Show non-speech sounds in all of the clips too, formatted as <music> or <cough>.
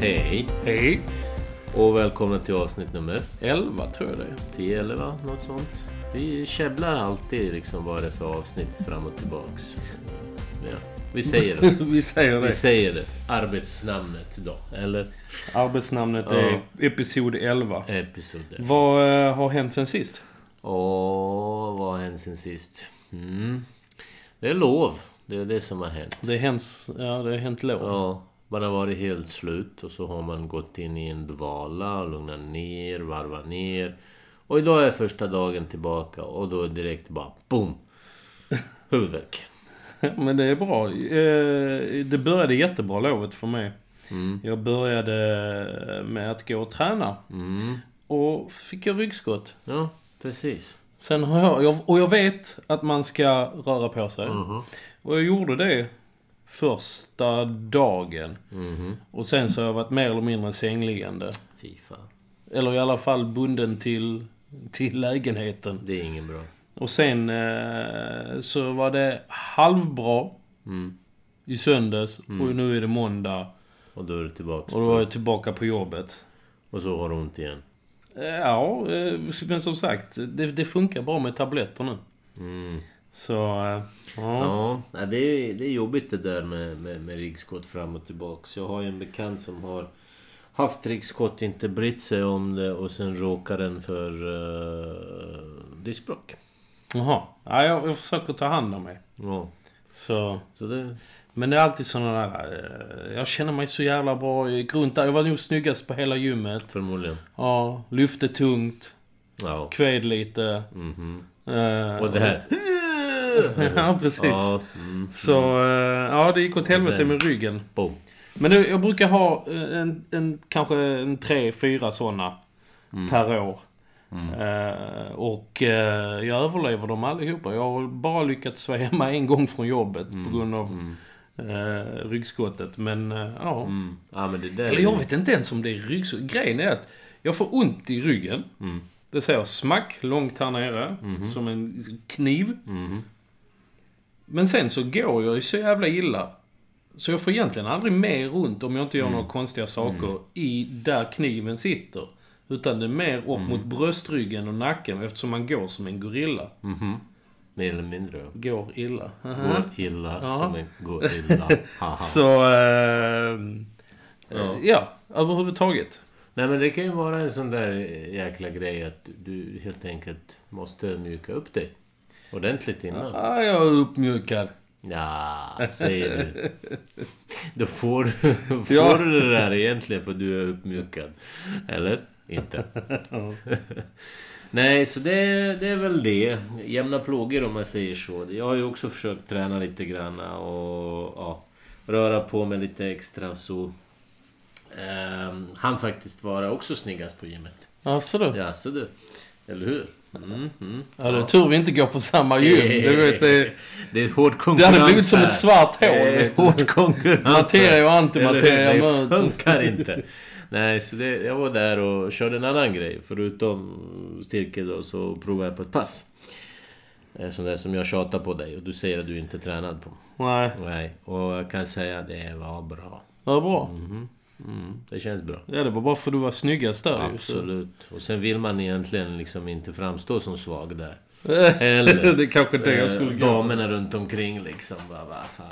Hej Hej! och välkomna till avsnitt nummer 11 tror jag det är. 10, 11, något sånt. Vi käbblar alltid liksom vad det är för avsnitt fram och tillbaks. Ja, vi säger det. <laughs> Vi säger Vi det. säger det. Arbetsnamnet då. Eller Arbetsnamnet Ja. Eh. är Episod 11. episode. Vad eh, har hänt sen sist? Åh, vad har hänt sen sist? Mm. Det är lov. Det är det som har hänt. Det, händs, ja, det har hänt lov. Ja, man har varit helt slut och så har man gått in i en dvala, lugnat ner, varvat ner. Och idag är första dagen tillbaka och då är direkt bara <laughs> boom! Huvudvärk. <laughs> Men det är bra. Eh, Det började jättebra lovet för mig. Mm. Jag började med att gå och träna. Mm. Och fick jag ryggskott. Ja, precis. Sen har jag, jag... Och jag vet att man ska röra på sig. Mhm. Och jag gjorde det första dagen. Mhm. Och sen så har jag varit mer eller mindre sängliggande. Fy fan. Eller i alla fall bunden till, till lägenheten. Det är ingen bra. Och sen eh, så var det halvbra Mm. i söndags och nu är det måndag. Och då är du tillbaks. Och då var jag tillbaka på jobbet. Och så har du ont igen. Eh, Ja, eh, men som sagt. Det, det funkar bra med tabletter nu. Mm. Så... eh, Ja. Ja, nej, det är, det är jobbigt det där med, med, med ryggskott fram och tillbaks. Jag har ju en bekant som har haft ryggskott, inte brytt sig om det och sen råkar den för uh, diskbråck. Jaha. Ja, jag, jag försöker ta hand om mig. Ja, Så... så det... Men det är alltid sådana där... eh, Jag känner mig så jävla bra i grunt. Jag var nog snyggast på hela gymmet. Förmodligen. Ja, lyfte tungt. Ja. Kved lite. Mhm. Eh, Och det <laughs> här. ja, precis. Ja. Mm. Så, eh, ja det gick åt helvete med ryggen. Boom. Men nu, jag brukar ha eh, en, en kanske en tre, fyra sådana Mm. per år. Eh, och eh, jag överlever dem allihopa. Jag har bara lyckats sväva mig en gång från jobbet Mm, på grund av eh, ryggskottet. Men eh, ja. Mm. Ja, men det där... Eller jag vet inte ens om det är ryggskott. Grejen är att jag får ont i ryggen. Mm. Det säger smack långt här nere. Som en kniv. Mhm. Men sen så går jag ju så jävla illa. Så jag får egentligen aldrig mer ont om jag inte Mm. gör några konstiga saker i där kniven sitter. Utan det är mer upp Mm. mot bröstryggen och nacken eftersom man går som en gorilla. Mhm. Mer eller mindre. Går illa. Går illa Ja. som en går <laughs> illa. Haha. Så... Eh, Ja. ja. ja, överhuvudtaget. Nej men det kan ju vara en sån där eh, jäkla grej att du helt enkelt måste mjuka upp dig. Ordentligt innan. Ah, jag är uppmjukad. Ja, säger du. Då får, du- får Ja. du det där egentligen för du är uppmjukad. Eller? Inte. Nej, så det, det är väl det. Jämna plågor om man säger så. Jag har ju också försökt träna lite grann och ja, röra på mig lite extra och så. Um, han faktiskt vara också snyggast på gymmet. Alltså du. Ja, så du. Eller hur? Mm, mm. Ja, det är tur vi inte går på samma gym. Du vet, det, Det är hård det konkurrens hade blivit som här. ett svart Det hål. är vet du. <laughs> hård konkurrens. Materia och antimateria Eller hur? Det möts. funkar inte. Nej, så det, jag var där och körde en annan grej. Förutom styrkel då, så provade jag på ett pass. Eh, Sånt där som jag tjatar på dig och du säger att du inte är tränad på. Nej, Nej, och jag kan säga att det var bra. vad bra. Mhm. Mm, det känns bra. Ja, det var bara för du var snyggast där ju, så. Absolut. Och sen vill man egentligen liksom inte framstå som svag där. Eller- Eller, <laughs> <laughs> det är kanske det jag skulle Eh, gå på. Damerna runt omkring liksom. Bara, vad fan.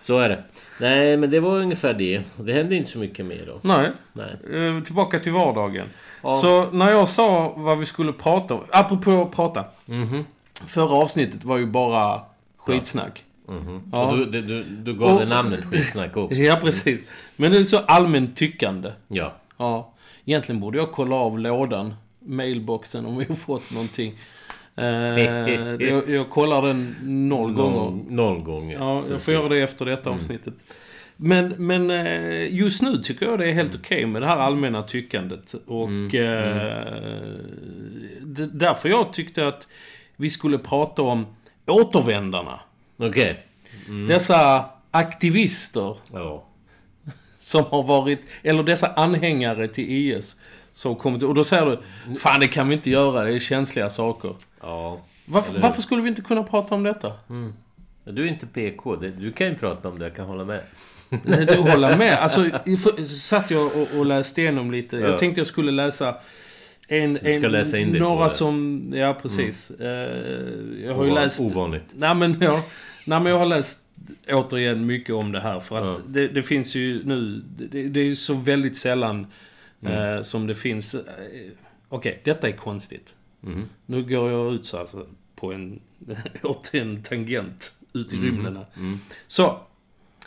Så är det. Nej, men det var ungefär det. Det hände inte så mycket mer då. Nej, Nej. eh, tillbaka till vardagen. Ja. Så när jag sa vad vi skulle prata om. Apropå att prata. Mhm. Förra avsnitt var ju bara skitsnack. Mhm. Ja. Och du, du, du, du gav Och- det namnet skitsnack också. <laughs> Ja, precis. Men det är så allmänt tyckande. Ja. Ja. Egentligen borde jag kolla av lådan. Mailboxen om vi har fått någonting. <laughs> Eh, jag, jag kollar den noll gånger. Noll, noll gånger. Ja, jag Precis. Mm. får göra det efter detta avsnittet. Men, men eh, just nu Mm. Mm. tycker jag det är helt okej med det här allmänna tyckandet. Och eh, det, därför jag tyckte att vi skulle prata om återvändarna. Okej. Mm. Dessa aktivister Ja. som har varit, eller dessa anhängare till IS som kommit, och då säger du Mm. Fan det kan vi inte göra, det är känsliga saker. Ja. Varför, Eller hur? varför skulle vi inte kunna prata om detta? Du är inte PK. Det- Du kan ju prata om det. Jag kan hålla med. Nej, du håller med. Alltså, i- för- satt jag och, och läste igenom lite. Ja. Jag tänkte jag skulle läsa en, Du ska en, läsa in dig på några det. Mm. som... Ja, precis. Eh, jag har ju Ovan- läst... Ovanligt. Nej men, ja, nej, men jag har läst återigen mycket om det här. För att Ja. det, det finns ju nu... Det, det är ju så väldigt sällan Mm. eh, som det finns... Eh, Okej, detta är konstigt. Mhm. Nu går jag ut så alltså, på en... <laughs> åt en tangent ut i rymden här. Mm. Så.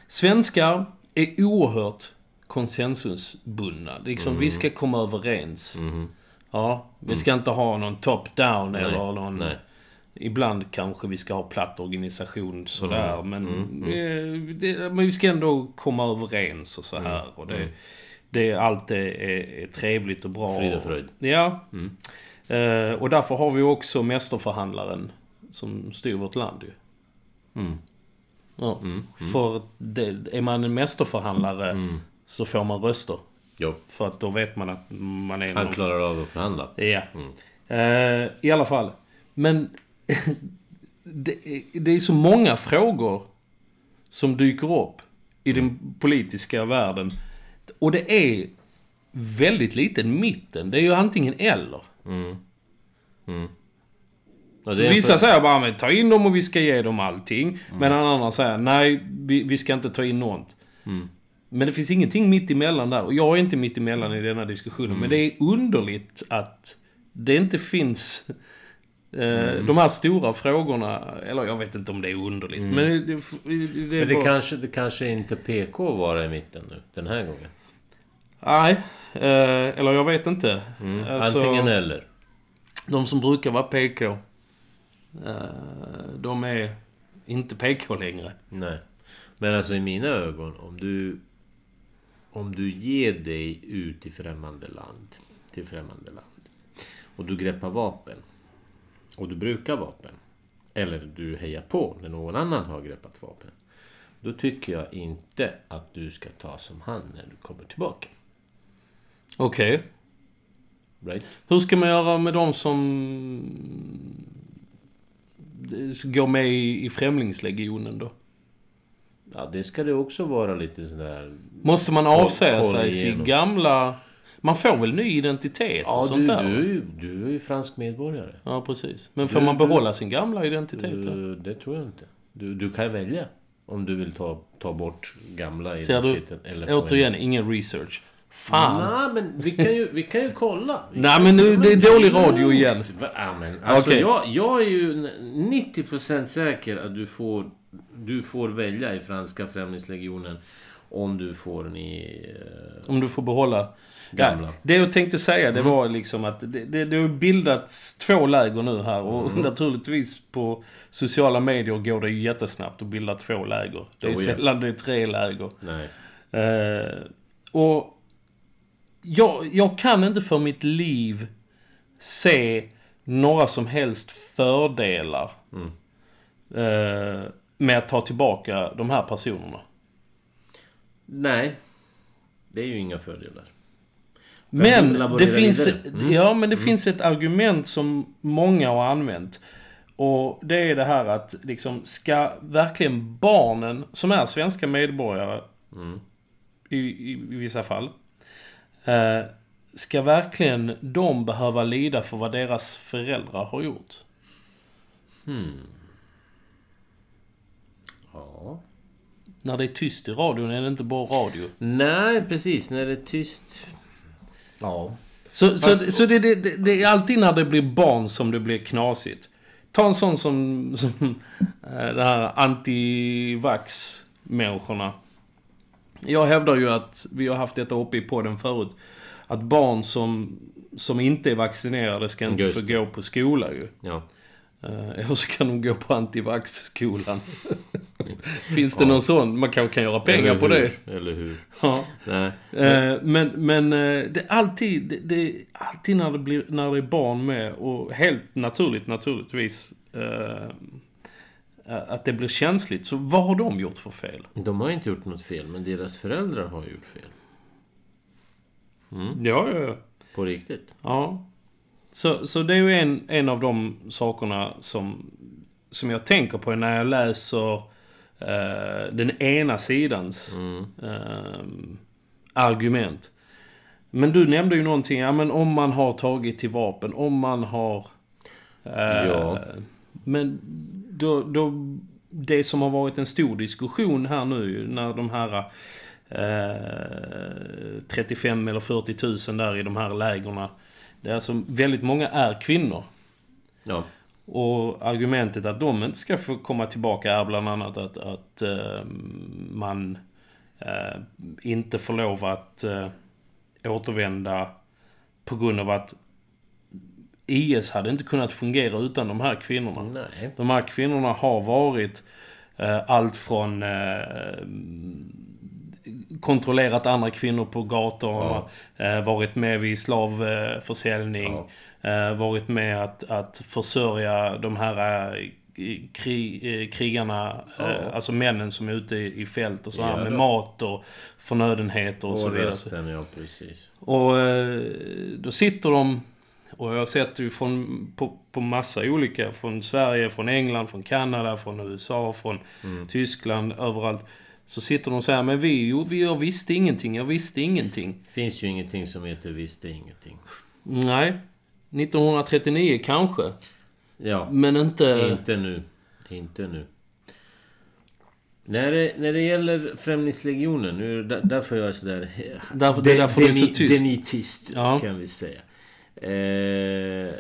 Svenskar är oerhört konsensusbundna. Liksom, Mm. vi ska komma överens. Mhm. Ja, vi ska inte ha någon top-down eller någon... Nej. Ibland kanske vi ska ha platt organisation sådär, Mm. men... eh, Det, men vi ska ändå komma överens och så Mm, här. Och det, det, allt är, är, är trevligt och bra. Frid och fröjd. Mm. Ja. Eh, och därför har vi också mästerförhandlaren som styr vårt land ju. Mm. Ja. För det, är man en mästerförhandlare Mm. så får man röster. Jo. För att då vet man att man är Han någon- klarar av att förhandla. Ja. Eh, I alla fall. Men <laughs> det, är- det är så många frågor som dyker upp i den politiska världen. Och det är väldigt liten mitten. Det är ju antingen eller. Ja, Så det är Mm. vissa för- säger bara men, ta in dem och vi ska ge dem allting. Medan andra säger nej, vi, vi ska inte ta in något. Mm. Men det finns ingenting mitt emellan där. Och jag är inte mitt emellan i denna diskussionen. Mm. Men det är underligt att det inte finns eh, Mm. de här stora frågorna. Eller jag vet inte om det är underligt. Men det, det, det, är Mm. Men det bara- kanske, det kanske inte PK vara i mitten nu. Den här gången. Nej. Eh, eller jag vet inte. Alltså- Mm. Antingen eller. De som brukar vara PK, eh, de är inte PK längre. Nej. Men alltså i mina ögon, om du... Om du ger dig ut i främmande land, till främmande land. Och du greppar vapen. Och du brukar vapen. Eller du hejar på när någon annan har greppat vapen. Då tycker jag inte att du ska ta som han när du kommer tillbaka. Okej. Right? Hur ska man göra med de som går med i i Främlingslegionen då? Ja, det ska det också vara lite sån där... Måste man avsäga kolla sig sin igenom. gamla... Man får väl ny identitet och Ja, du, sånt du, där? är ju- du är ju fransk medborgare. Ja, precis. Men får Du- man du- behålla sin gamla identitet då? Du, det tror jag inte. Du, du kan välja om du vill ta, ta bort gamla Ser du? identiteten. Eller få en- Återigen, ingen research. Fan! Nej, men vi kan ju, vi kan ju kolla. Vi Nej, kan- men nu- det är dålig radio lugnt. igen. Va- Ja, men, alltså, Okej. jag, jag är ju 90% säker att du får, du får välja i franska främlingslegionen om du får en i... eh, Om du får behålla... Gamla. Mm. Ja, det jag tänkte säga det var liksom att det, det, det har bildats två läger nu här och Mm. naturligtvis på sociala medier går det ju jättesnabbt att bilda två läger. Det är Oh, ja. sällan det är tre läger. Nej. Eh, och jag, jag kan inte för mitt liv se några som helst fördelar Mm. eh, med att ta tillbaka de här personerna. Nej. Det är ju inga fördelar. Men det, laborera finns, vidare. Mm. ja, men det finns ett argument som många har använt. Och det är det här att liksom, ska verkligen barnen, som är svenska medborgare Mm. i, i, i vissa fall, eh, ska verkligen de behöva lida för vad deras föräldrar har gjort? Ja. När det är tyst i radion är det inte bra radio. Nej, precis. När det är tyst... Ja. Så, så, Fast- så det, det, det, det är alltid när det blir barn som det blir knasigt. Ta en sån som, som eh, de här antivax-människorna. Jag hävdar ju att, vi har haft detta uppe i podden förut, att barn som, som inte är vaccinerade ska inte Just få gå på skola ju. Ja. <laughs> Eh, Eller så kan de gå på antivax-skolan. Finns det någon sån? Man kanske kan göra pengar Eller på det. hur? Eller hur? Ja. Nej. Eh, men men eh, det är alltid, det, det är alltid när, det blir, när det är barn med och helt naturligt naturligtvis eh, att det blir känsligt. Så vad har de gjort för fel? De har inte gjort något fel, men deras föräldrar har gjort fel. Ja, ja, ja. På riktigt. ja. Så, så det är ju en, en av de sakerna som, som jag tänker på när jag läser eh, den ena sidans Mm. ehm, argument. Men du nämnde ju någonting, ja men om man har tagit till vapen, om man har... eh, Ja. Men då, då... Det som har varit en stor diskussion här nu när de här eh, 35 eller 40 000 där i de här lägren. Det är alltså väldigt många är kvinnor. Ja. Och argumentet att de inte ska få komma tillbaka är bland annat att, att eh, man eh, inte får lov att eh, återvända på grund av att IS hade inte kunnat fungera utan de här kvinnorna. Nej. De här kvinnorna har varit eh, allt från eh, kontrollerat andra kvinnor på gatorna, eh, varit med vid slavförsäljning, eh, varit med att, att försörja de här eh, krig, eh, krigarna, eh, alltså männen som är ute i i fält och så här Ja, med då. mat och förnödenheter och, så Och vidare. resten, ja precis. Och eh, då sitter de och jag har sett ju från, på, på massa olika. Från Sverige, från England, från Kanada, från USA, från Tyskland, överallt. Så sitter de så här, men vi, jo, vi jag visste ingenting, jag visste ingenting. Finns ju ingenting som heter visste ingenting. Nej. 1939 kanske. Ja. Men inte... Inte nu. Inte nu. När det, när det gäller Främlingslegionen, nu, är det där, därför jag är sådär... Därför- det är därför du är så tyst. Denitist, Ja. kan vi säga. Eh,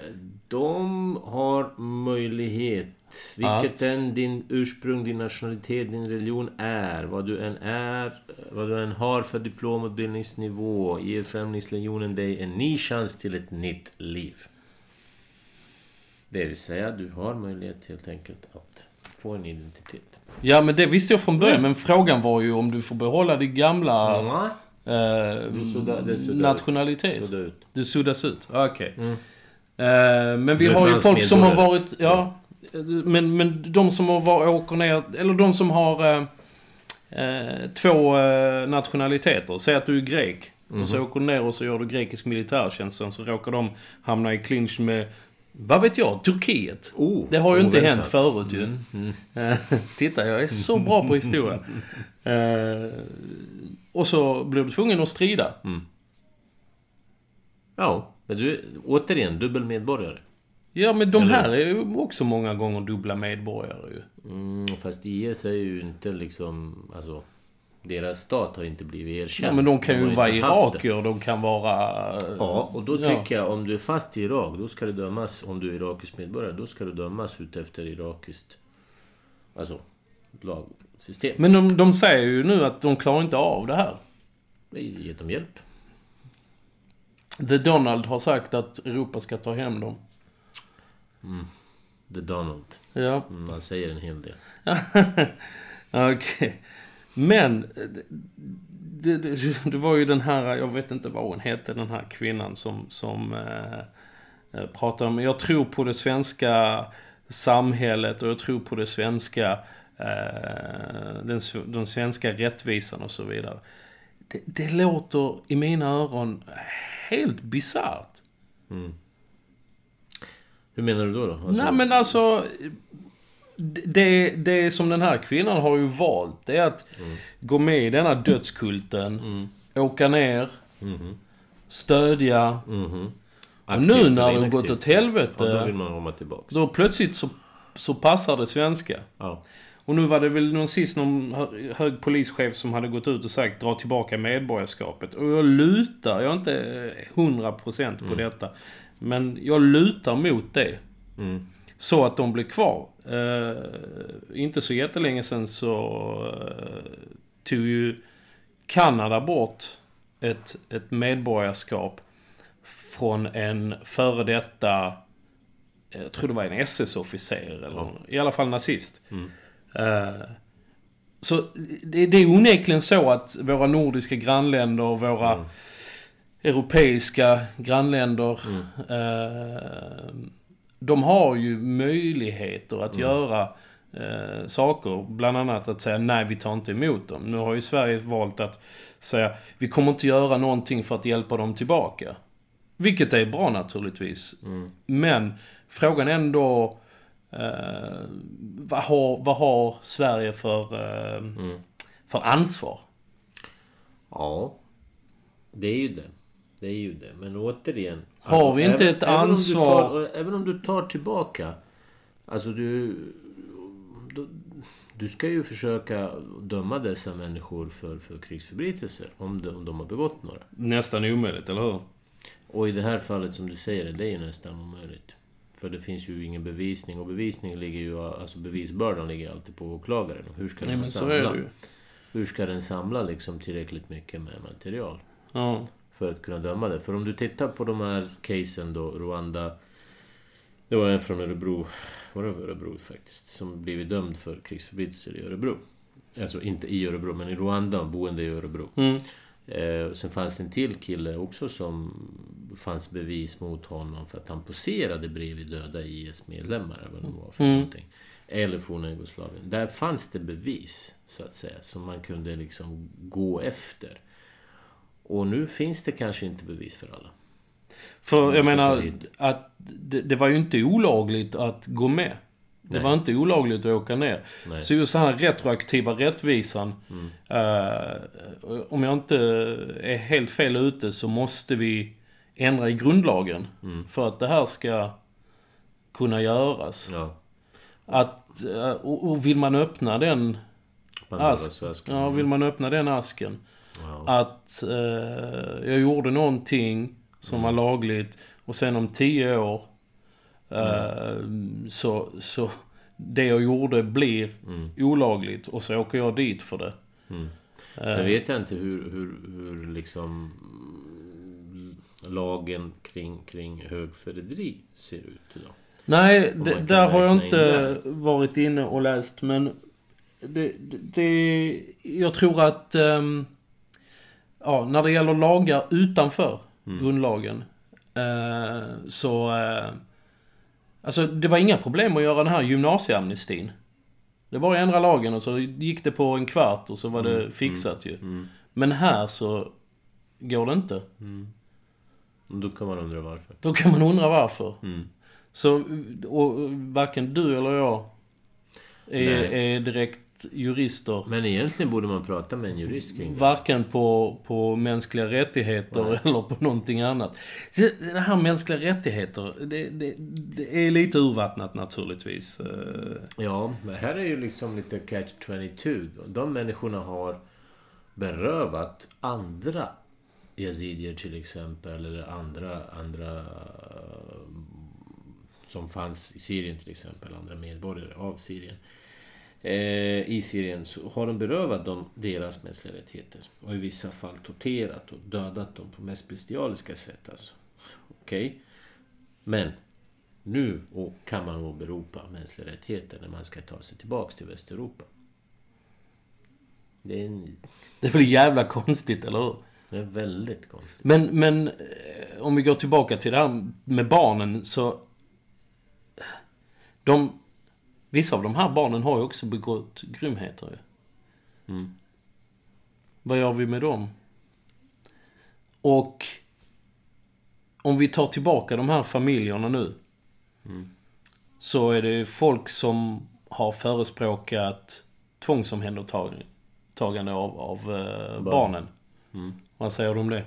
de har möjlighet, vilket Att? än din ursprung, din nationalitet, din religion är, vad du än är, vad du än har för diplom och bildningsnivå, ger Främlingslegionen dig en ny chans till ett nytt liv. Det vill säga, du har möjlighet helt enkelt att få en identitet. Ja, men det visste jag från början. Men frågan var ju om du får behålla din gamla Nej, eh, Du sudda- det suddar ut. nationalitet. sudda ut. Du suddas ut? Ja, Okej. Mm. Eh, men vi Du är har ju fransk folk som har medborgare. varit... Ja. Men, men de som har var, åker ner... Eller de som har eh, eh, två eh, nationaliteter. Säg att du är grek. Och Mhm. så åker du ner och så gör du grekisk militärtjänst. Sen så råkar de hamna i clinch med... Vad vet jag? Turkiet. Oh, Det har ju inte oväntat. Mm, hänt förut ju. Eh, <laughs> Titta, jag är så bra <laughs> på historia. Eh, och så blir du tvungen att strida. Ja, men du, återigen, dubbel medborgare. Ja, men de här är ju också många gånger dubbla medborgare ju. Mm, fast IS är ju inte liksom... Alltså, deras stat har inte blivit erkänd. Ja, men de kan ju har inte vara haft det. irakier, de kan vara... eh, Ja, och då Ja. tycker jag om du är fast i Irak, då ska du dömas... Om du är irakisk medborgare, då ska du dömas utefter irakiskt... Alltså, lagsystem. Men de, de säger ju nu att de klarar inte av det här. Ge dem hjälp. The Donald har sagt att Europa ska ta hem dem. The Donald. Ja, Mm, Han säger en hel del. <laughs> okej. Men... eh, Det, det, det var ju den här, jag vet inte vad hon hette, den här kvinnan som, som eh, eh, pratade om... Jag tror på det svenska samhället och jag tror på det svenska... Eh, den, s- den svenska rättvisan och så vidare. Det, det låter i mina öron helt bisarrt. Hur menar du då? då? Alltså, Nej men alltså... Det, det som den här kvinnan har ju valt, det är att Mm. gå med i denna dödskulten, åka ner, stödja. mhm. Och Mm-hmm. Aktivt nu eller när det har inaktivt? gått åt Ja, då vill helvete, man komma tillbaks. då plötsligt så, så passar det svenska. Ja. Och nu var det väl någon sist någon hö- hög polischef som hade gått ut och sagt dra tillbaka medborgarskapet. Och jag lutar, jag är inte hundra procent på detta. Men jag lutar mot det. Mm. Så att de blev kvar. Eh, inte så jättelänge sen så eh, tog ju Kanada bort ett, ett medborgarskap från en före detta, jag tror det var en SS-officer eller i alla fall nazist. Eh, Så det, det är onekligen så att våra nordiska grannländer och våra Mm. europeiska grannländer Mm. eh, De har ju möjligheter att göra eh, saker. Bland annat att säga nej, vi tar inte emot dem. Nu har ju Sverige valt att säga vi kommer inte göra någonting för att hjälpa dem tillbaka. Vilket är bra naturligtvis. Mm. Men frågan är ändå eh, vad, har, vad har Sverige för, eh, Mm. för ansvar? Ja, det är ju det. Det är ju det. Men återigen. Har vi inte även- ett även om du ansvar? tar- Även om du tar tillbaka. Alltså du... Du, du ska ju försöka döma dessa människor för, för krigsförbrytelser. Om de, om de har begått några. Nästan omöjligt, eller hur? Och i det här fallet som du säger, det är ju nästan omöjligt. För det finns ju ingen bevisning och bevisning ligger ju... Alltså bevisbördan ligger alltid på åklagaren. Och hur ska Nej den men så är det samla? ju. Hur ska den samla liksom tillräckligt mycket med material? Ja. för att kunna döma det. För om du tittar på de här casen då, Rwanda... Det var en från Örebro, var det Örebro faktiskt, som blivit dömd för krigsförbrytelser i Örebro. Alltså inte i Örebro, men i Rwanda, boende i Örebro. Mm. Eh, sen fanns det en till kille också som fanns bevis mot honom för att han poserade bredvid döda IS-medlemmar, eller vad de var för Mm. någonting. Eller forna Jugoslavien. Där fanns det bevis, så att säga, som man kunde liksom gå efter. Och nu finns det kanske inte bevis för alla. För Man jag ska ta menar hit. att det, det var ju inte olagligt att gå med. Det Nej. var inte olagligt att åka ner. Nej. Mm. Så just den här retroaktiva rättvisan. eh, om jag inte är helt fel ute så måste vi ändra i grundlagen. Mm. För att det här ska kunna göras. Ja. Att, eh, och, och vill man öppna den Pandoras Ask. ask. Ja, vill man öppna den asken. Ja. Att eh, jag gjorde någonting som var lagligt och sen om tio år eh, så, så det jag gjorde blir olagligt och så åker jag dit för det. Eh. Sen vet jag inte hur, hur, hur liksom mm, lagen kring, kring högförräderi ser ut idag. Nej, man d- kan där har jag räkna in inte varit inne och läst men det, det, det, jag tror att ehm, ja, när det gäller lagar utanför Mm. grundlagen eh, så eh, alltså det var inga problem att göra den här gymnasieamnestin. Det var att ändra lagen och så gick det på en kvart och så var Mm, det fixat ju. Men här så går det inte. Och Då kan man undra varför. Då kan man undra varför. Mm. Så och, varken du eller jag är, Nej. är direkt jurister. Men egentligen borde man prata med en jurist kring det. Varken på, på mänskliga rättigheter eller på någonting annat. Så Det här mänskliga rättigheter, det, det, det är lite urvattnat naturligtvis. Eh, Ja, men här är ju liksom lite catch 22. De människorna har berövat andra yazidier till exempel, eller andra, andra eh, som fanns i Syrien till exempel, andra medborgare av Syrien. Eh, I Syrien så har de berövat dem deras mänskliga rättigheter. Och i vissa fall torterat och dödat dem på mest bestialiska sätt alltså. Okej? Men nu och kan man åberopa mänskliga rättigheter när man ska ta sig tillbaks till Västeuropa. Det är, en, Det blir jävla konstigt, eller hur? det är väldigt konstigt. Men, men eh, om vi går tillbaka till det här med barnen så... De, vissa av de här barnen har ju också begått grymheter ju. Mm. Vad gör vi med dem? Och om vi tar tillbaka de här familjerna nu. Så är det folk som har förespråkat tvångsomhändertagande av, av eh, barnen. Vad säger du om det?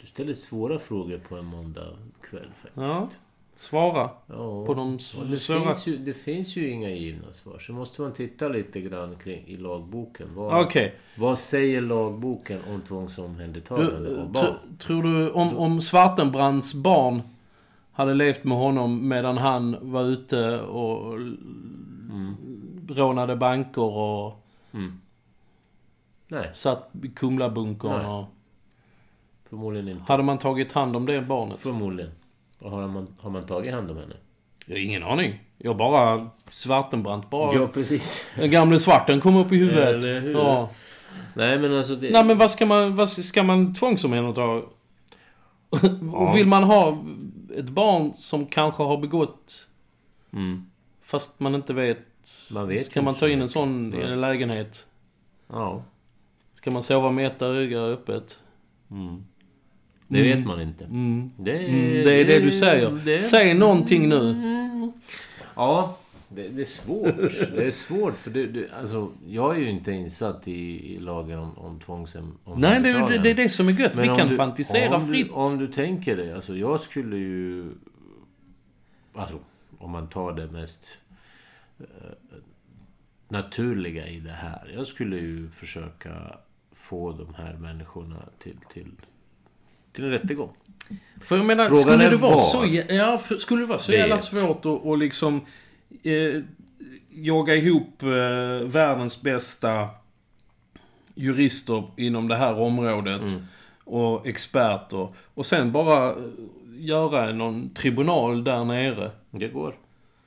Du ställer svåra frågor på en måndag kväll faktiskt. Ja. Svara Ja. på de Och det, s- svåra... finns ju, det finns ju inga givna svar. Så måste man titta lite grann kring, i lagboken. Vad, Okej. vad säger lagboken om tvångsomhändertagande Du, av tro- barn? tror du om, om Svartenbrands barn hade levt med honom medan han var ute och l- Mm. rånade banker och Nej, satt i Kumlabunkern Nej. och... förmodligen inte. Hade man tagit hand om det barnet? Förmodligen. Och Har man, har man tagit hand om henne? Jag har ingen aning. Jag bara... Svartenbrandt bara... Ja, precis. Den gamle svarten kom upp i huvudet. Eller hur? Ja. Nej, men alltså... Det... Nej men vad ska man... Vad ska man tvångsomhänderta? Och vill man ha ett barn som kanske har begått... Mm. Fast man inte vet... Man vet ska man kanske ta in en sån i Nej. en lägenhet? Ja. Ska man sova med ett öga öppet? Mm. Det vet man inte. Mm. Det, Mm, det är det du säger. Eh, det- Säg någonting nu. Ja, det, det är svårt. Det är svårt för du, du, alltså, jag är ju inte insatt i, i lagen om, om tvångsem... Om Nej, det, är- det, det är det som är gött. Vi om kan du- fantisera om fritt. Du, om du tänker det. Alltså jag skulle ju... Alltså, om man tar det mest eh, naturliga i det här. Jag skulle ju försöka få de här människorna till, till, till en rättegång. För jag menar, Frågan skulle är det, vara vad? så, jä- ja, för, skulle det vara så Vet. jävla svårt att, att liksom eh, jaga ihop eh, världens bästa jurister inom det här området Mm. och experter och sen bara eh, göra någon tribunal där nere. Det går.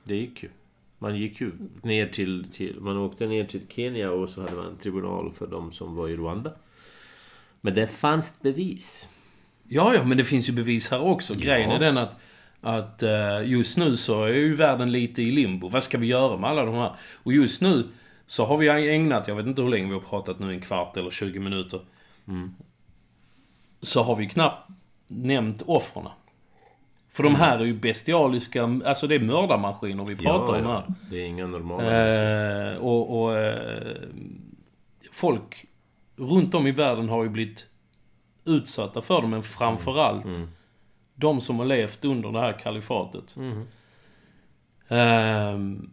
Det gick ju. Man gick ju ner till, till... Man åkte ner till Kenya och så hade man en tribunal för de som var i Rwanda. Men det fanns bevis. Ja, ja, men det finns ju bevis här också. Grejen Ja. är den att, att eh, just nu så är ju världen lite i limbo. Vad ska vi göra med alla de här? Och just nu så har vi ägnat, jag vet inte hur länge vi har pratat nu, en kvart eller 20 minuter. Så har vi knappt nämnt offren. För de här är ju bestialiska, alltså det är mördarmaskiner vi pratar om här. Det är inga normala... Eh, och och eh, folk runt om i världen har ju blivit utsatta för dem, men framförallt Mm. de som har levt under det här kalifatet. Mm. Ehm,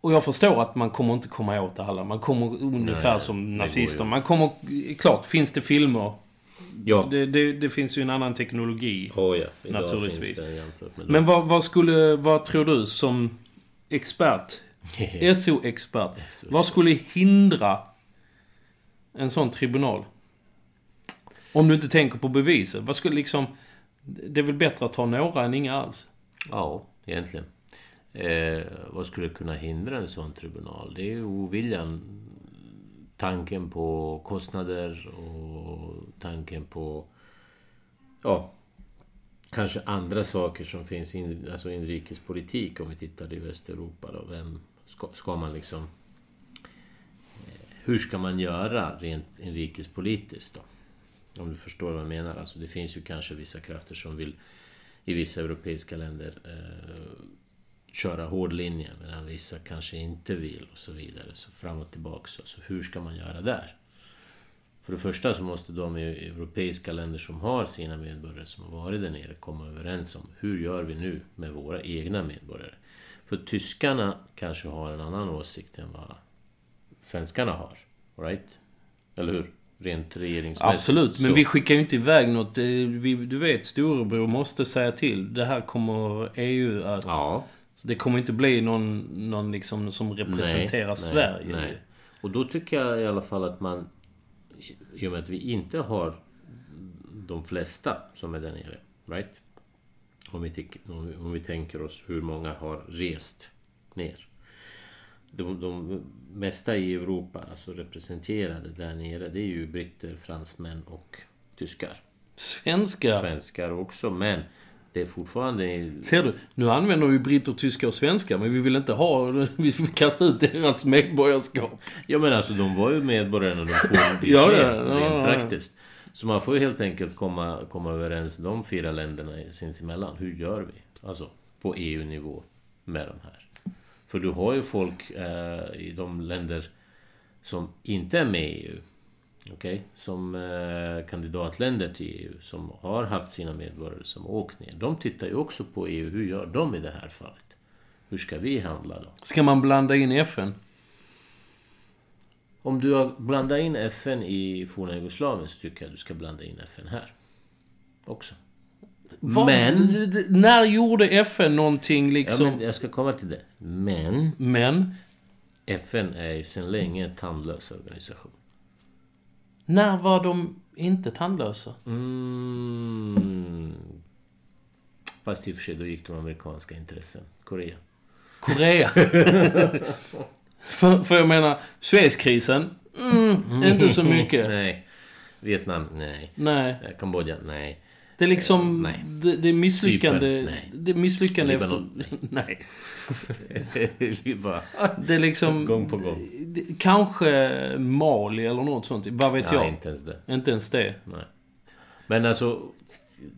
och jag förstår att man kommer inte komma åt alla. Man kommer ungefär Nej, som det nazister. går ju Man kommer... Klart, finns det filmer. Ja. Det, det, det finns ju en annan teknologi. Oh, ja. Idag Naturligtvis. Finns det jämfört med Men vad, vad skulle... Vad tror du som expert? då. SO-expert. SO. Vad skulle hindra en sån tribunal? Om du inte tänker på bevisen. Vad skulle liksom... Det är väl bättre att ta några än inga alls? ja, egentligen. Eh, vad skulle kunna hindra en sån tribunal? Det är ju oviljan. Tanken på kostnader och tanken på... Ja. Kanske andra saker som finns in, alltså inrikespolitik om vi tittar i Västeuropa då. Vem ska, ska man liksom... eh, Hur ska man göra rent inrikespolitiskt då? Om du förstår vad jag menar. Alltså det finns ju kanske vissa krafter som vill i vissa europeiska länder eh, köra hård linje medan vissa kanske inte vill och så vidare. Så fram och tillbaka. Så, så hur ska man göra där? För det första så måste de i europeiska länder som har sina medborgare som har varit där nere komma överens om hur gör vi nu med våra egna medborgare? För tyskarna kanske har en annan åsikt än vad svenskarna har. All Right? Eller hur? Rent regeringsmässigt. Absolut, men Så- vi skickar ju inte iväg något. Eh, Vi, du vet, storebror måste säga till. Det här kommer EU att... Ja. Så det kommer inte bli någon, någon liksom som representerar Sverige. Nej. Och då tycker jag i alla fall att man... i- I och med att vi inte har de flesta som är där nere, right? Om vi, tick- om vi, om vi tänker oss hur många har rest ner. De, de mesta i Europa, alltså representerade där nere, det är ju britter, fransmän och tyskar. Svenska. Svenskar också, men det är fortfarande... Ser du? Nu använder vi britter, tyskar och svenskar, men vi vill inte ha... <laughs> Vi vill kasta ut deras medborgarskap. Ja men alltså de var ju medborgare när de <laughs> for dit Ja, ner, ja, ja, rent ja. praktiskt. Så man får ju helt enkelt komma, komma överens de fyra länderna i- sinsemellan. Hur gör vi? Alltså på EU-nivå med de här. För du har ju folk eh, i de länder som inte är med i EU. Okej? Som eh, kandidatländer till EU som har haft sina medborgare som åkt ner. De tittar ju också på EU. Hur gör de i det här fallet? Hur ska vi handla då? Ska man blanda in FN? Om du har blandat in FN i forna Jugoslavien så tycker jag att du ska blanda in FN här. Också. Vad- Men- d- d- När gjorde FN någonting Ja, liksom... men jag ska komma till det. Men men... FN är ju sedan länge en tandlös organisation. När var de inte tandlösa? Mm. Fast i och för sig, då gick de amerikanska intressen. Korea. <laughs> Korea. för, för jag menar, Suezkrisen? Mm, inte så <laughs> mycket. nej. Vietnam? Nej. Nej. Eh, Kambodja? Nej. Det är liksom... Eh, nej. Det, det är misslyckande. Cypern, nej. det är misslyckande efter... <laughs> Libanon, <laughs> Nej. Det är bara Det är liksom... gång på gång. det- Kanske Mali eller något sånt. Vad vet Nej, jag? inte ens det. Inte ens det. Nej. Men alltså...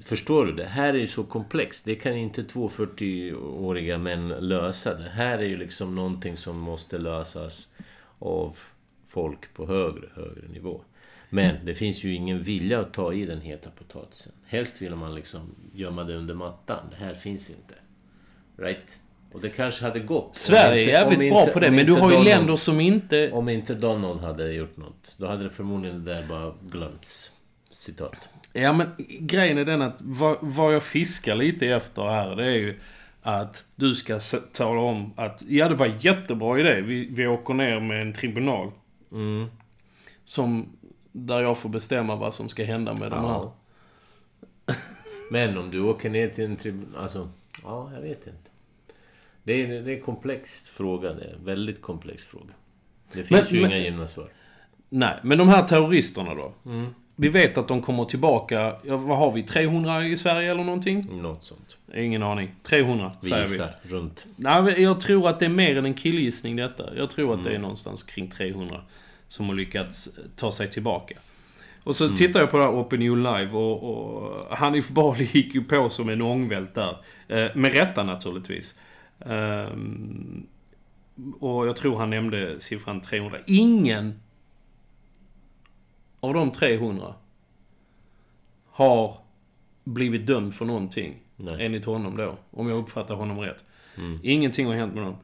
Förstår du? Det här är ju så komplext. Det kan inte två 40-åriga män lösa. Det här är ju liksom någonting som måste lösas av folk på högre, högre nivå. Men det finns ju ingen vilja att ta i den heta potatisen. Helst vill man liksom gömma det under mattan. Det här finns inte. Right? Och det kanske hade gått. om Sverige inte- är jävligt om bra inte- på det, om men du inte har ju Donald- länder som inte... Om inte Donald hade gjort något, då hade det förmodligen det där bara glömts. Citat. Ja men grejen är den att vad, vad jag fiskar lite efter här det är ju att du ska s- tala om att ja det var en jättebra idé. Vi, vi åker ner med en tribunal. Mm. Som, där jag får bestämma vad som ska hända med de här. Ja. <laughs> Men om du åker ner till en tribunal... Alltså, ja, jag vet inte. Det är, det är en komplex fråga det. är en Väldigt komplex fråga. Det finns Men- ju men- inga givna svar. Nej, men de här terroristerna då. Mm. Vi vet att de kommer tillbaka, ja, vad har vi, 300 i Sverige eller någonting? Något sånt. Ingen aning. 300 Vi säger vi. gissar runt. Nej, men jag tror att det är mer än en killgissning detta. Jag tror att det är någonstans kring 300 som har lyckats eh, ta sig tillbaka. Och så tittar jag på det här Opinion Live och, och Hanif Bali <laughs> gick ju på som en ångvält där. Eh, med rätta naturligtvis. Ehm, och jag tror han nämnde siffran 300. Ingen av de 300 har blivit dömd för någonting. Nej. Mm. Enligt honom då. Om jag uppfattar honom rätt. Ingenting har hänt med dem.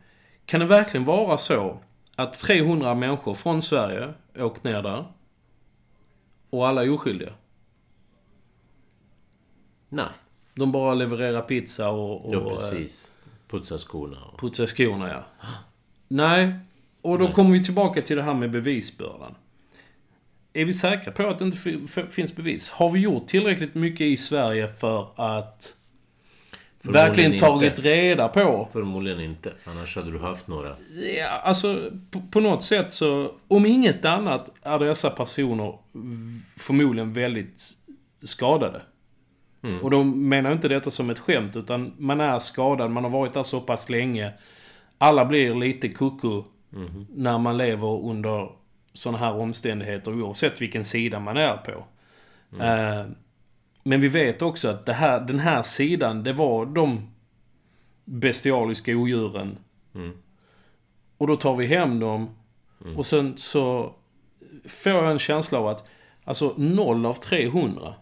Kan det verkligen vara så att 300 människor från Sverige åkt ner där och alla är oskyldiga? Nej. De bara levererar pizza och, och Ja, eh, precis. Putsa skorna och... putsar skorna, ja. Nej. Och då kommer vi tillbaka till det här med bevisbördan. Är vi säkra på att det inte fi- fi- finns bevis? Har vi gjort tillräckligt mycket i Sverige för att Förmodligen verkligen inte. tagit reda på Förmodligen inte. Annars hade du haft några. Ja, alltså på, på något sätt så, om inget annat, är dessa personer v- förmodligen väldigt skadade. Och då menar jag inte detta som ett skämt, utan man är skadad, man har varit där så pass länge. Alla blir lite kucko när man lever under sådana här omständigheter, oavsett vilken sida man är på. Eh, men vi vet också att det här, den här sidan, det var de bestialiska odjuren och då tar vi hem dem. Mm. Och sen så får jag en känsla av att alltså 0 av 300.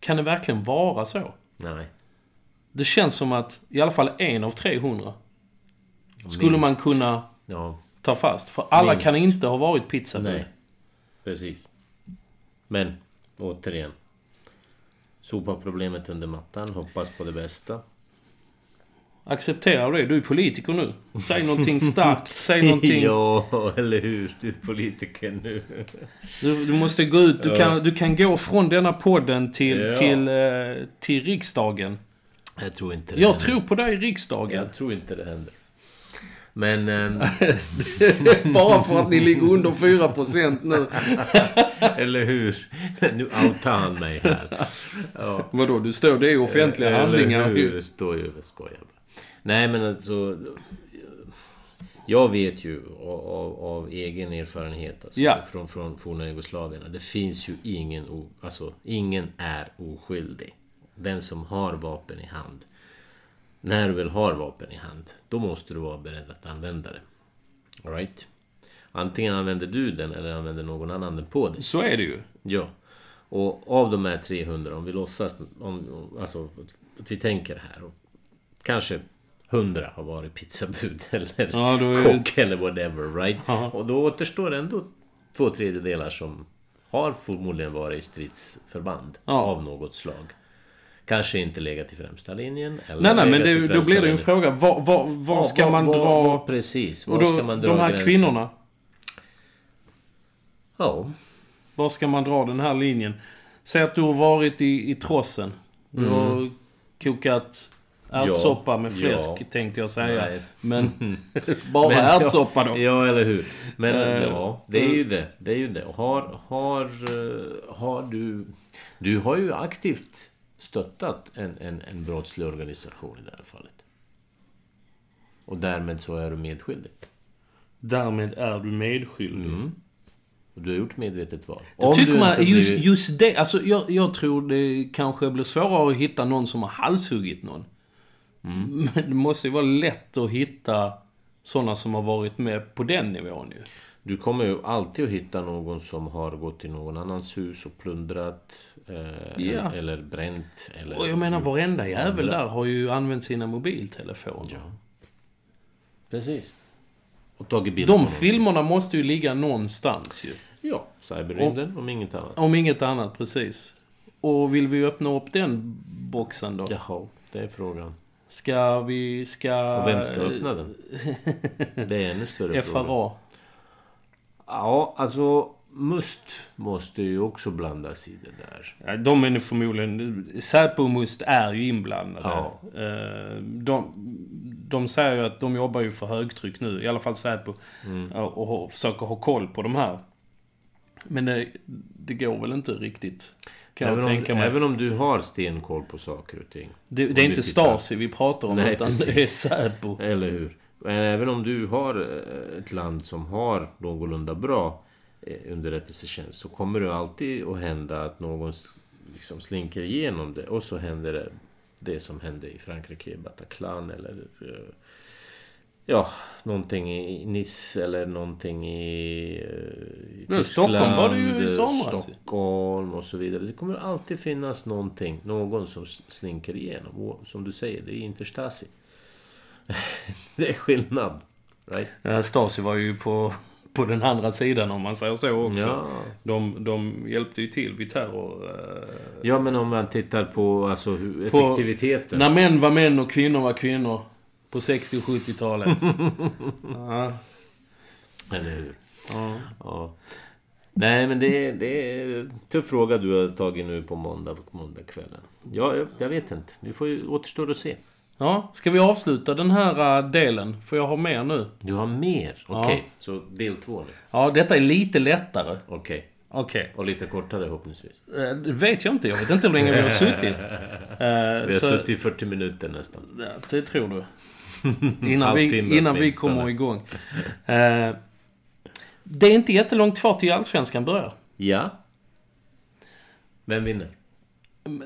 Kan det verkligen vara så? Nej. Det känns som att i alla fall en av 300 skulle Minst. man kunna Ja, ta fast. För alla Minst. kan inte ha varit pizzabud. Nej. Precis. Men, återigen. Sopa problemet under mattan, hoppas på det bästa. Acceptera det. Du är politiker nu. <laughs> Säg någonting starkt. Säg någonting. Ja, eller hur? Du är politiker nu. Du, du måste gå ut. Du kan, du kan gå från denna podden till, Ja. till, eh, till riksdagen. Jag tror inte det Jag händer. tror på dig i riksdagen. Jag tror inte det händer. Men... ehm, <laughs> <laughs> Bara för att ni ligger under 4% nu. eller hur? Nu outar han mig här. Ja. Vadå, du står det är offentliga Eh, Eller handlingar. hur? Det står ju... Jag skojar bara. Nej, men alltså... Jag vet ju av, av, av egen erfarenhet alltså, Ja. från, från forna Jugoslavien. att Det finns ju ingen... o- Alltså, ingen är oskyldig. Den som har vapen i hand. När du väl har vapen i hand, då måste du vara beredd att använda det. Alright? Antingen använder du den eller använder någon annan den på dig. Så är det ju. Ja. Och av de här 300, om vi låtsas... Om, om- alltså, att vi tänker här. Och kanske 100 har varit pizzabud <laughs> eller Ja, då är- kock eller whatever, right? Ja. Och då återstår ändå två tredjedelar som har förmodligen varit i stridsförband Ja. av något slag. Kanske inte legat i främsta linjen. Eller Nej, nej, men legat i det, då främsta blir det ju en linjen. fråga. Var, var, var Ja, ska man var, dra... Var, precis. Var och då, ska man dra de här gränsen? kvinnorna. Ja. Var ska man dra den här linjen? Säg att du har varit i, i trossen. Du har kokat Ärtsoppa med fläsk Mm. Ja. tänkte jag säga. Nej. <laughs> Men bara Men ja, ärtsoppa då. Ja, eller hur. Men Eh, ja, det är ju det. Det är ju det. Har, har, eh, har du... Du har ju aktivt stöttat en, en, en brottslig organisation i det här fallet. Och därmed så är du medskyldig. Därmed är du medskyldig. Mm. Och du har gjort medvetet val. Jag tycker man, inte just, blivit- just det, alltså jag, jag tror det kanske blir svårare att hitta någon som har halshuggit någon. Men det måste ju vara lätt att hitta sådana som har varit med på den nivån ju. Du kommer ju alltid att hitta någon som har gått till någon annans hus och plundrat. Eh, Ja. Eller bränt. Eller Och jag menar varenda jävel där har ju använt sina mobiltelefoner. Precis. Och tagit bilder på De någon. filmerna måste ju ligga någonstans ju. Ja, cyberrymden om inget annat. Om inget annat, precis. Och vill vi öppna upp den boxen då? Jaha, det är frågan. Ska vi... Ska... Och vem ska öppna den? Det är ännu större fråga. FRA. Ja, alltså Must måste ju också blandas i det där. Ja, de är nu förmodligen... Säpo och Must är ju inblandade. Ja. Eh, De, de säger ju att de jobbar ju för högtryck nu. I alla fall Säpo. Och, och, har- försöker ha koll på de här. Men det, det går väl inte riktigt. Kan Även jag om, tänka mig. även om du har stenkoll på saker och ting. det, Om det du är inte tittar. Stasi vi pratar om, Nej, utan det är precis. Säpo. Eller hur? Men även om du har eh, ett land som har någorlunda bra eh, underrättelsetjänst så kommer det alltid att hända att någon s- liksom slinker igenom det och så händer det det som hände i Frankrike, i Bataclan eller eh, ja, någonting i Nice eller någonting i, eh, i Ja, Stockholm var det ju i eh, somras ju. Stockholm och så vidare. Det kommer alltid finnas någonting, någon som s- slinker igenom. Och som du säger, det är inte Stasi. <laughs> Det är skillnad. Right? <laughs> Ja, Stasi var ju på, på den andra sidan om man säger så också. Ja. De, de hjälpte ju till vid terror... eh, ja, men om man tittar på alltså, hur På- effektiviteten. När män var män och kvinnor var kvinnor. På 60 och 70-talet. ja. Eller hur? Ja. Ja. Nej, men det är, det är en tuff fråga du har tagit nu på måndag på måndagskvällen. Ja, jag, jag vet inte. Vi får ju återstår att se. ja, ska vi avsluta den här eh, delen? För jag har mer nu. Du har mer? Okej, Ja. så del två nu. Ja, detta är lite lättare. Okej. Okej. Och lite kortare förhoppningsvis. Eh, Det vet jag inte. Jag vet inte hur länge vi <laughs> har suttit. Eh, Vi har så- suttit i 40 minuter nästan. Ja, det tror du. Innan Halvtimme vi, innan vi åtminstone. kommer igång. Eh, det är inte jättelångt kvar till Allsvenskan börjar. Ja. Vem vinner?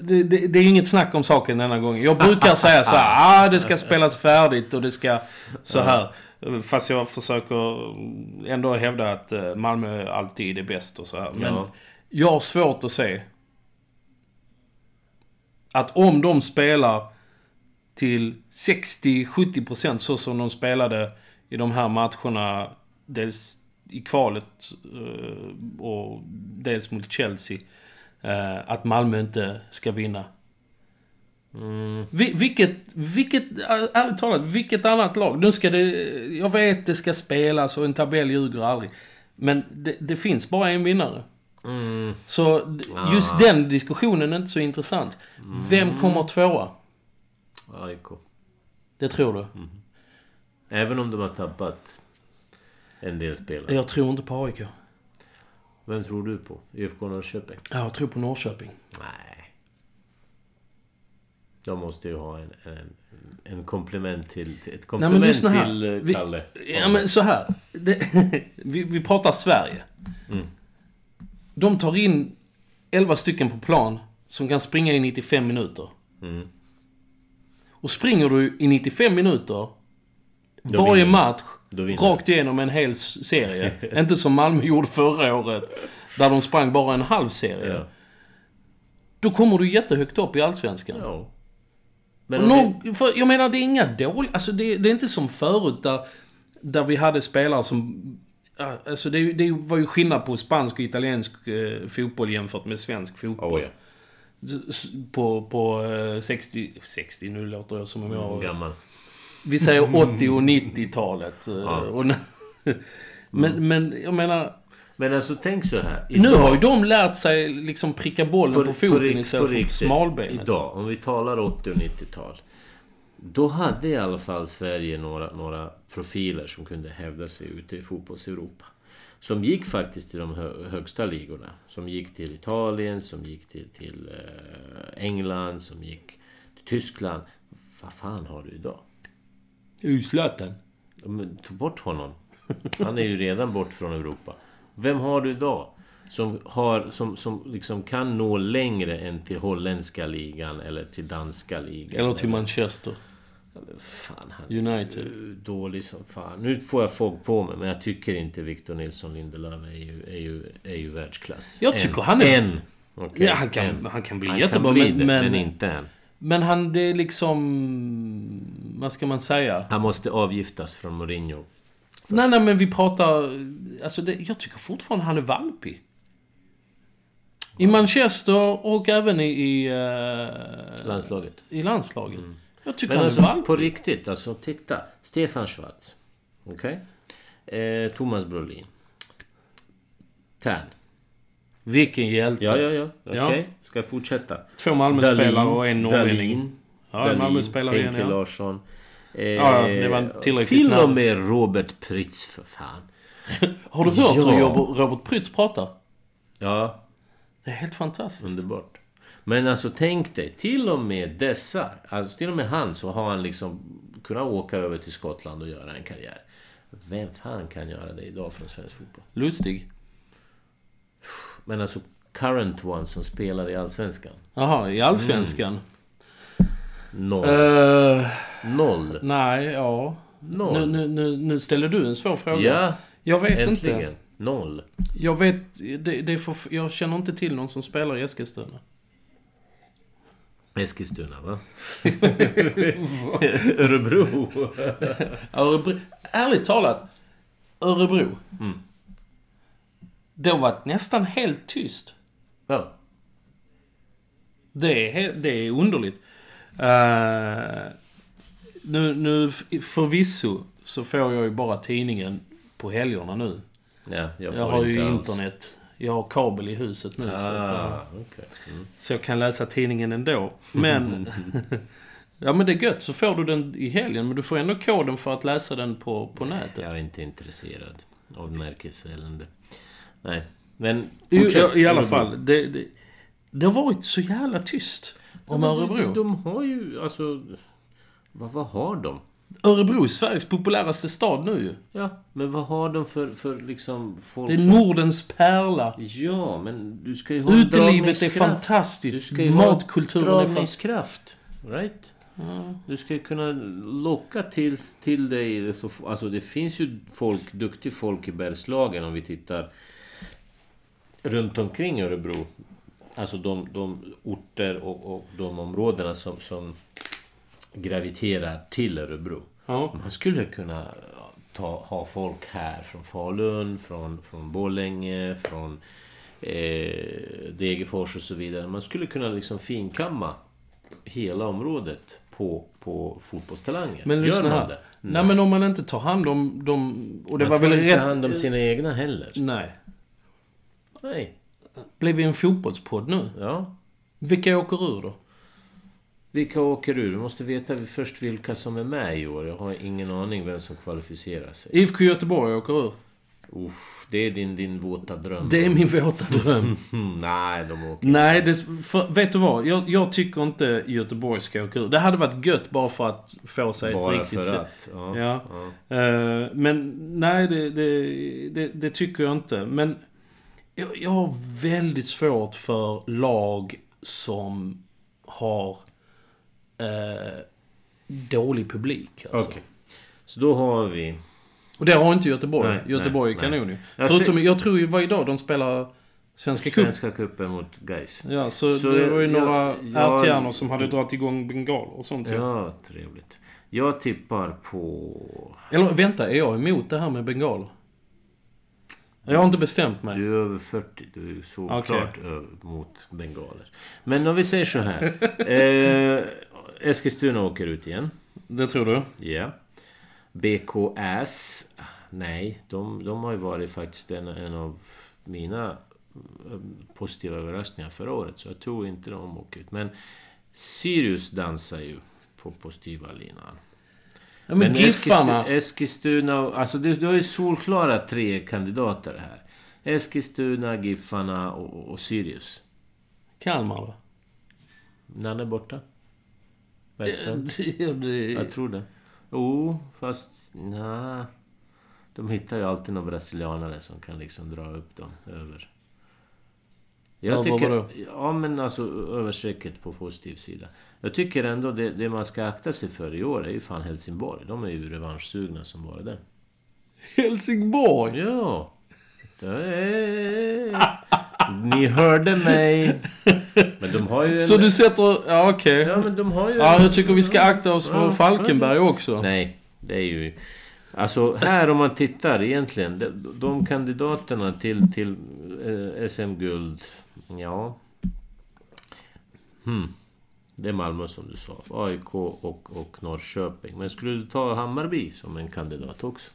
Det, det, det är inget snack om saken denna gången. Jag brukar säga så här, ah, det ska spelas färdigt och det ska så här. Fast jag försöker ändå hävda att eh, Malmö alltid är bäst och så här. Men Ja. jag har svårt att se att om de spelar till 60-70% så som de spelade i de här matcherna. Dels i kvalet eh, och dels mot Chelsea. eh, Att Malmö inte ska vinna. Vi, vilket, vilket, är- ärligt talat, vilket annat lag? Nu ska det, jag vet det ska spelas och en tabell ljuger aldrig. Men det, det finns bara en vinnare. Så d- just den diskussionen är inte så intressant. Vem kommer tvåa? AIK. Det tror du? Även om de har tappat en del spelare. Jag tror inte på AIK. Vem tror du på? IFK Norrköping? Ja, Jag tror på Norrköping. Nej. De måste ju ha en, en, en komplement till... till- Ett men komplement lyssna här. till eh, Vi- Kalle. Ja, men så här. Det, <laughs> vi, vi pratar Sverige. Mm. De tar in 11 stycken på plan som kan springa i 95 minuter. Mm. Och springer du i 95 minuter Då varje vinner du. match Då vinner du. rakt igenom en hel s- serie. <laughs> Inte som Malmö gjorde förra året. Där de sprang bara en halv serie. Ja. Då kommer du jättehögt upp i Allsvenskan. ja. Men om vi- Någon, för jag menar, det är inga dåliga... Alltså det, det är inte som förut där, där vi hade spelare som... ja, Alltså det, är ju- det var ju skillnad på spansk och italiensk eh, fotboll jämfört med svensk fotboll. Åh, ja. S- På, på eh, 60... 60, nu låter jag som om jag... Gammal. Vi säger 80 och 90-talet. eh, Ja. och n- <laughs> men, men jag menar... Men alltså tänk så här. Nu har ju de lärt sig liksom pricka bollen på, foten rikt- istället för på riktigt. smalbenet. Idag, om vi talar 80 och 90-tal. Då hade i alla fall Sverige några, några profiler som kunde hävda sig ute i fotbolls-Europa. Som gick faktiskt till de hö, högsta ligorna. Som gick till Italien, som gick till, till eh, England, som gick till Tyskland. Vad fan har du idag? Uslöten. Men ta bort honom. Han är ju redan bort från Europa. Vem har du idag? Som, har, som, som liksom kan nå längre än till holländska ligan eller till danska ligan. Eller till Manchester Fan, han United. är dålig som fan. Nu får jag fog på mig, men jag tycker inte Victor Nilsson Lindelöf är ju, är ju, är ju världsklass. Jag tycker han är- Än. Okej, Ja, han kan- än. han kan bli jättebra, bli men- det, men, men- inte än. Men han, det är liksom... Vad ska man säga? Han måste avgiftas från Mourinho. Nej, nej, men vi pratar... Alltså, det, jag tycker fortfarande han är valpig. I Manchester och även i... I, eh, Landslaget. i landslaget. Jag tycker Mm. Men han är alltså, valpig. på riktigt, alltså titta. Stefan Schwarz. Okej? Eh, Thomas Brolin. Tern. Vilken hjälte. Ja, ja, ja. Okej. Ja. Ska jag fortsätta? Två Malmöspelare och en norrlänning. Dahlin. Ja, en Malmöspelare Henke igen, ja. Larsson. Eh, Ja, ja, det var tillräckligt Till och namn. med Robert Prytz, för fan. Har du hört Ja. hur Robert- Robert Prytz pratar? Ja, Det är helt fantastiskt. underbart. Men alltså tänk dig, till och med dessa, alltså till och med han, så har han liksom kunnat åka över till Skottland och göra en karriär. Vem fan kan göra det idag från svensk fotboll? Lustig. Men alltså current one som spelar i Allsvenskan? Jaha, i Allsvenskan? Noll. Mm. Eh, Noll. nej, ja. Nu, Noll. nu, nu, nu ställer du en svår fråga. ja, Jag vet äntligen. inte. Noll. Jag vet... Det, det är för, jag känner inte till någon som spelar i Eskilstuna. Eskilstuna, <laughs> va? Örebro. Örebro... Ärligt talat. Örebro. Mm. Det har varit nästan helt tyst. Ja. Det är, he- det är underligt. Eh, nu, nu f- förvisso så får jag ju bara tidningen på helgerna nu. ja jag, får Jag har ju inte alls. internet. Jag har kabel i huset nu. Så, att, eh, Ah, okej. Mm. så jag kan läsa tidningen ändå. <laughs> Men... ja men det är gött. Så får du den i helgen. Men du får ändå koden för att läsa den på, på nätet. Jag är inte intresserad av märkeselände. Nej. Men I, fortsätt, I alla Örebro. fall. Det, det, det har varit så jävla tyst om Ja, men Örebro. De, de har ju, alltså... Vad, vad har de? Örebro är Sveriges populäraste stad nu ju. Ja, men vad har de för, för liksom folk Det är Nordens pärla. Ja, men du ska ju ha en Utelivet är dragningskraft. Du fantastiskt. ska ju Matkulturen ha är fantastisk. dragningskraft. Right? Du ska ju kunna locka till, till dig... så f- Alltså det finns ju folk, duktig folk i Bergslagen om vi tittar runt omkring Örebro. Alltså de, de orter och, och de områdena som, som graviterar till Örebro. Ja. Man skulle kunna ta, ha folk här från Falun, från, från Borlänge, från eh, Degerfors och så vidare. Man skulle kunna liksom finkamma hela området på, på fotbollstalanger. Men lyssna man här. det? Nej men om man inte tar hand om dem... Och det Man var tar väl inte rätt... hand om sina egna heller. Nej. Nej. Blev vi en fotbollspodd nu? Ja. Vilka åker ur då? Vilka åker ur? Du måste veta först vilka som är med i år. Jag har ingen aning vem som kvalificerar sig. IFK Göteborg åker ur. Uff, det är din, din våta dröm. Det är min våta dröm. Mm, <laughs> nej, de åker Nej, det, för, vet du vad? Jag, jag tycker inte Göteborg ska åka ur. Det hade varit gött bara för att få sig ett bara riktigt... för se- att. Ja. Ja. Ja. Eh, men nej, det, det, det, det tycker jag inte. Men jag, jag har väldigt svårt för lag som har eh, dålig publik. Alltså. Okej. Så då har vi... Och det har inte Göteborg. Nej, Göteborg nej, är kanon ju. nej. Jag Förutom, ser- jag tror ju varje dag de spelar Svenska cupen. Svenska cupen mot Gais. Ja, så, Så det var ju jag- några jag- ärthjärnor som hade dragit igång bengaler och sånt ju. Ja, trevligt. Jag tippar på... Eller vänta, är jag emot det här med bengaler? Jag har inte bestämt mig. Du är över 40. Du är ju såklart över mot bengaler. Men om vi säger så <laughs> här. eh, Eskilstuna åker ut igen. Det tror du? Ja. BKS. Nej, de, de har ju varit faktiskt en, en av mina mm, positiva överraskningar förra året. Så jag tror inte de åker ut. Men Sirius dansar ju på, på styva linan. Ja, men, Giffarna. Eskistu- Eskilstuna... Alltså du, du har ju solklara tre kandidater här. Eskilstuna, Giffarna och, och Sirius. Kalmar då? Nanne är borta. Bergström. Det, det, <laughs> Jag tror det. Jo, fast... nja. De hittar ju alltid några brasilianare som kan liksom dra upp dem över... Jag Över vadå? tycker, ja men alltså över strecket på positiv sida. Jag tycker ändå det, det man ska akta sig för i år är ju fan Helsingborg. De är ju revanschsugna som bara det. Helsingborg! Ja. Det är... Ni hörde mig. Men de har ju... En... Så du sätter... Ja, okej. Ja, men de har ju... Ja, jag tycker vi ska akta oss för Falkenberg också. Nej, det är ju... Alltså här om man tittar egentligen. De, de kandidaterna till, till eh, SM-guld. Ja... Hmm. Det är Malmö som du sa. AIK och, och Norrköping. Men skulle du ta Hammarby som en kandidat också?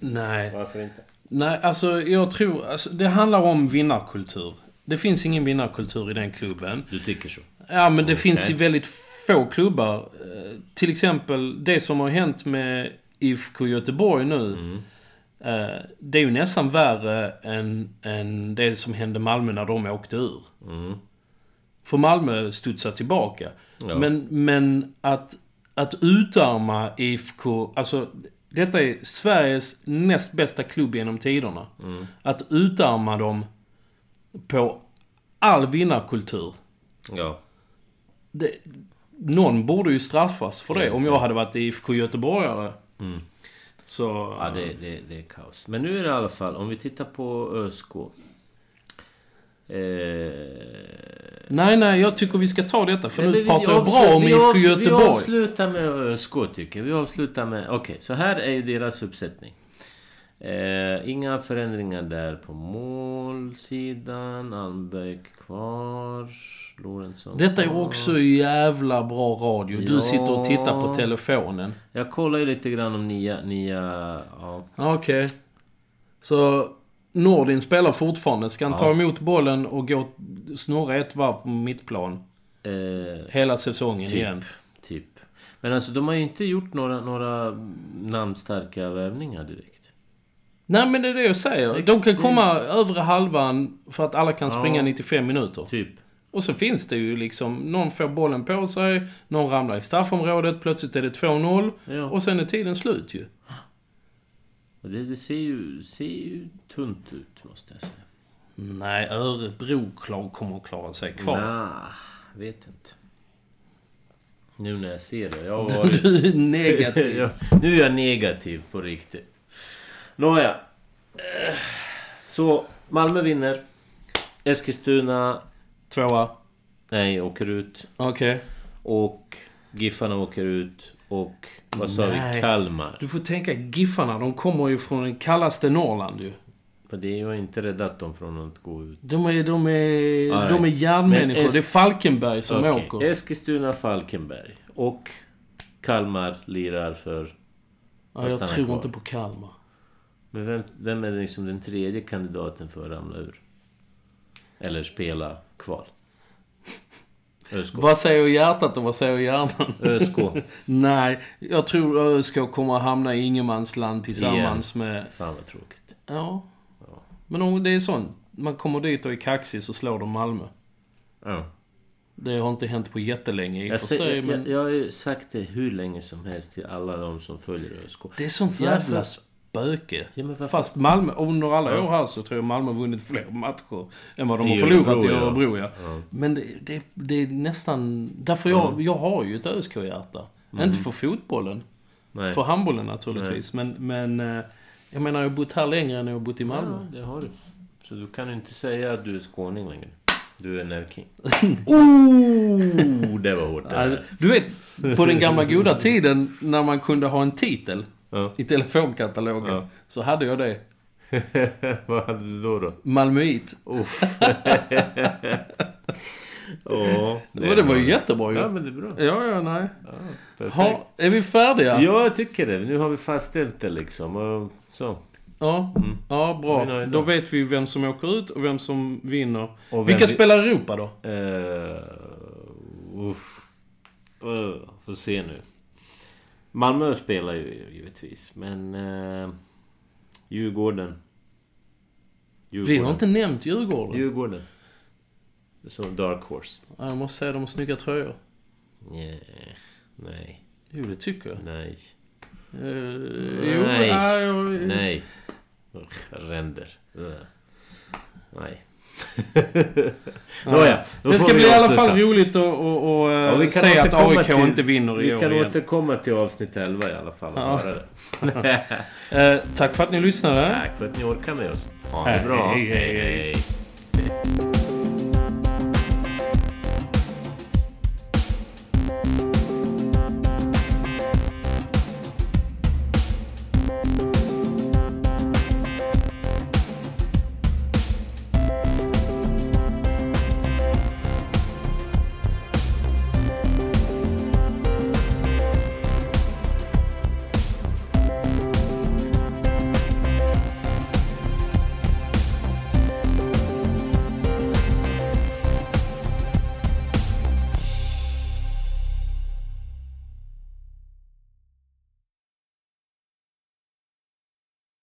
Nej. Varför inte? Nej, alltså jag tror... Alltså, det handlar om vinnarkultur. Det finns ingen vinnarkultur i den klubben. Du tycker så? Ja, men det finns i väldigt få klubbar. Eh, Till exempel det som har hänt med IFK Göteborg nu. Mm. eh, Det är ju nästan värre än, än det som hände Malmö när de åkte ur. Mm. För Malmö studsar tillbaka. Ja. Men, men att, att utarma IFK, alltså detta är Sveriges näst bästa klubb genom tiderna. Mm. Att utarma dem på all vinnarkultur. Ja. Det, någon borde ju straffas för det. Mm. Om jag hade varit IFK Göteborgare. Så... Ja, det, det, det är kaos. Men nu är det i alla fall, om vi tittar på ÖSK. Eh, Nej, nej, jag tycker vi ska ta detta. För Nej, men nu pratar jag avslu- bra om vi IFK avs- Vi Göteborg. avslutar med ÖSK tycker jag. Vi avslutar med... Okej, så här är ju deras uppsättning. Eh, inga förändringar där på målsidan. Almbäck kvar. Lorentzon Detta är kvar. också jävla bra radio. Du Ja. sitter och tittar på telefonen. Jag kollar ju lite grann om nya... nya ja. Ja, Okej. Så Nordin spelar fortfarande. Ska han ta emot bollen och gå snurra ett varv på mittplan eh, hela säsongen igen? Typ. Men alltså de har ju inte gjort några, några namnstarka värvningar direkt. Nej, men det är det jag säger. De kan komma övre halvan för att alla kan springa 95 minuter. Typ. Och så finns det ju liksom, någon får bollen på sig, någon ramlar i straffområdet, plötsligt är det 2-0 Ja. och sen är tiden slut ju. Och det, det ser, ju, ser ju tunt ut måste jag säga. Nej, Örebro klar, kommer att klara sig kvar. Nja, vet inte. Nu när jag ser det. Jag har varit... <laughs> Du är <laughs> negativ. Ja, nu är jag negativ på riktigt. Nåja. Eh, Så Malmö vinner. Eskilstuna... Tvåa. Nej, åker ut. Okej. Och Giffarna åker ut. Och vad sa Nej. vi? Kalmar. Du får tänka Giffarna, de kommer ju från den kallaste Norrland ju. För det har ju inte räddat dem från att gå ut. De är, de är, Nej. de är järnmänniskor. Men es- Det är Falkenberg som Okej, åker. Eskilstuna, Falkenberg och Kalmar lirar för... Ja, jag stannar tror kvar. inte på Kalmar. Men vem, vem är det liksom den tredje kandidaten för att ramla ur? Eller spela kvar? ÖSK. Vad säger hjärtat och vad säger hjärnan? ÖSK. Nej, jag tror ÖSK kommer att hamna i ingenmansland tillsammans med... Fan vad tråkigt. Ja. Men om det är sånt. Man kommer dit och är kaxig så slår de Malmö. Ja. Det Det har inte hänt på jättelänge i och jag, för säger- sig, men... jag, jag har ju sagt det hur länge som helst till alla de som följer ÖSK. Det är sånt Varför? jävla spöke. Ja, men varför? Fast Malmö, under alla år här så tror jag Malmö har vunnit fler matcher än vad de I har förlorat Örebro, i ja. Mm. Örebro. Ja. Men det, det, det är nästan... Därför jag, jag har ju ett ÖSK-hjärta. Inte för fotbollen. Nej. För handbollen naturligtvis. Men, men eh, jag menar, jag har bott här längre än jag har bott i Malmö. Ja, det har du. Så du kan ju inte säga att du är skåning längre. Du är närking. oh, det var hårt det Ja, där. Alltså, Du vet, på den gamla goda tiden när man kunde ha en titel Ja. i telefonkatalogen. Ja. Så hade jag det. <laughs> Vad hade du då? då? Malmöit. Ja, Det, var- det var ju jättebra ju. Ja, Ja, men det är bra. ja, nej. Perfekt. Ha, är vi färdiga? Ja, jag tycker det. Nu har vi fastställt det liksom. och Så. Ja, ja Mm. Vi är bra. nöjda. Då vet vi ju vem som åker ut och vem som vinner. Och vem Vilka vi- spelar i Europa då? Uh, Eh, uff. Uh, får se nu. Malmö spelar ju givetvis, men... Eh, Djurgården. Vi har inte nämnt Djurgården. Djurgården. Det är Som Dark Horse. Ja, Jag måste säga, de har snygga tröjor. Nej. Nej. Jo, det tycker jag. Nej. Eh, jo, Nej. ja, jag- Nej. Ugh, Ränder. Ugh. Nej. <laughs> Nåja, då Det får ska vi bli i alla avsluta. fall roligt att och, och, eh, Ja, vi kan se att återkomma AIK till- inte vinner i Vi år kan igen. återkomma till avsnitt 11 i alla fall och Ja. höra det. <laughs> Eh, tack för att ni lyssnade. Tack för att ni orkar med oss. Ha det Hej, bra. hej, hej, hej. hej.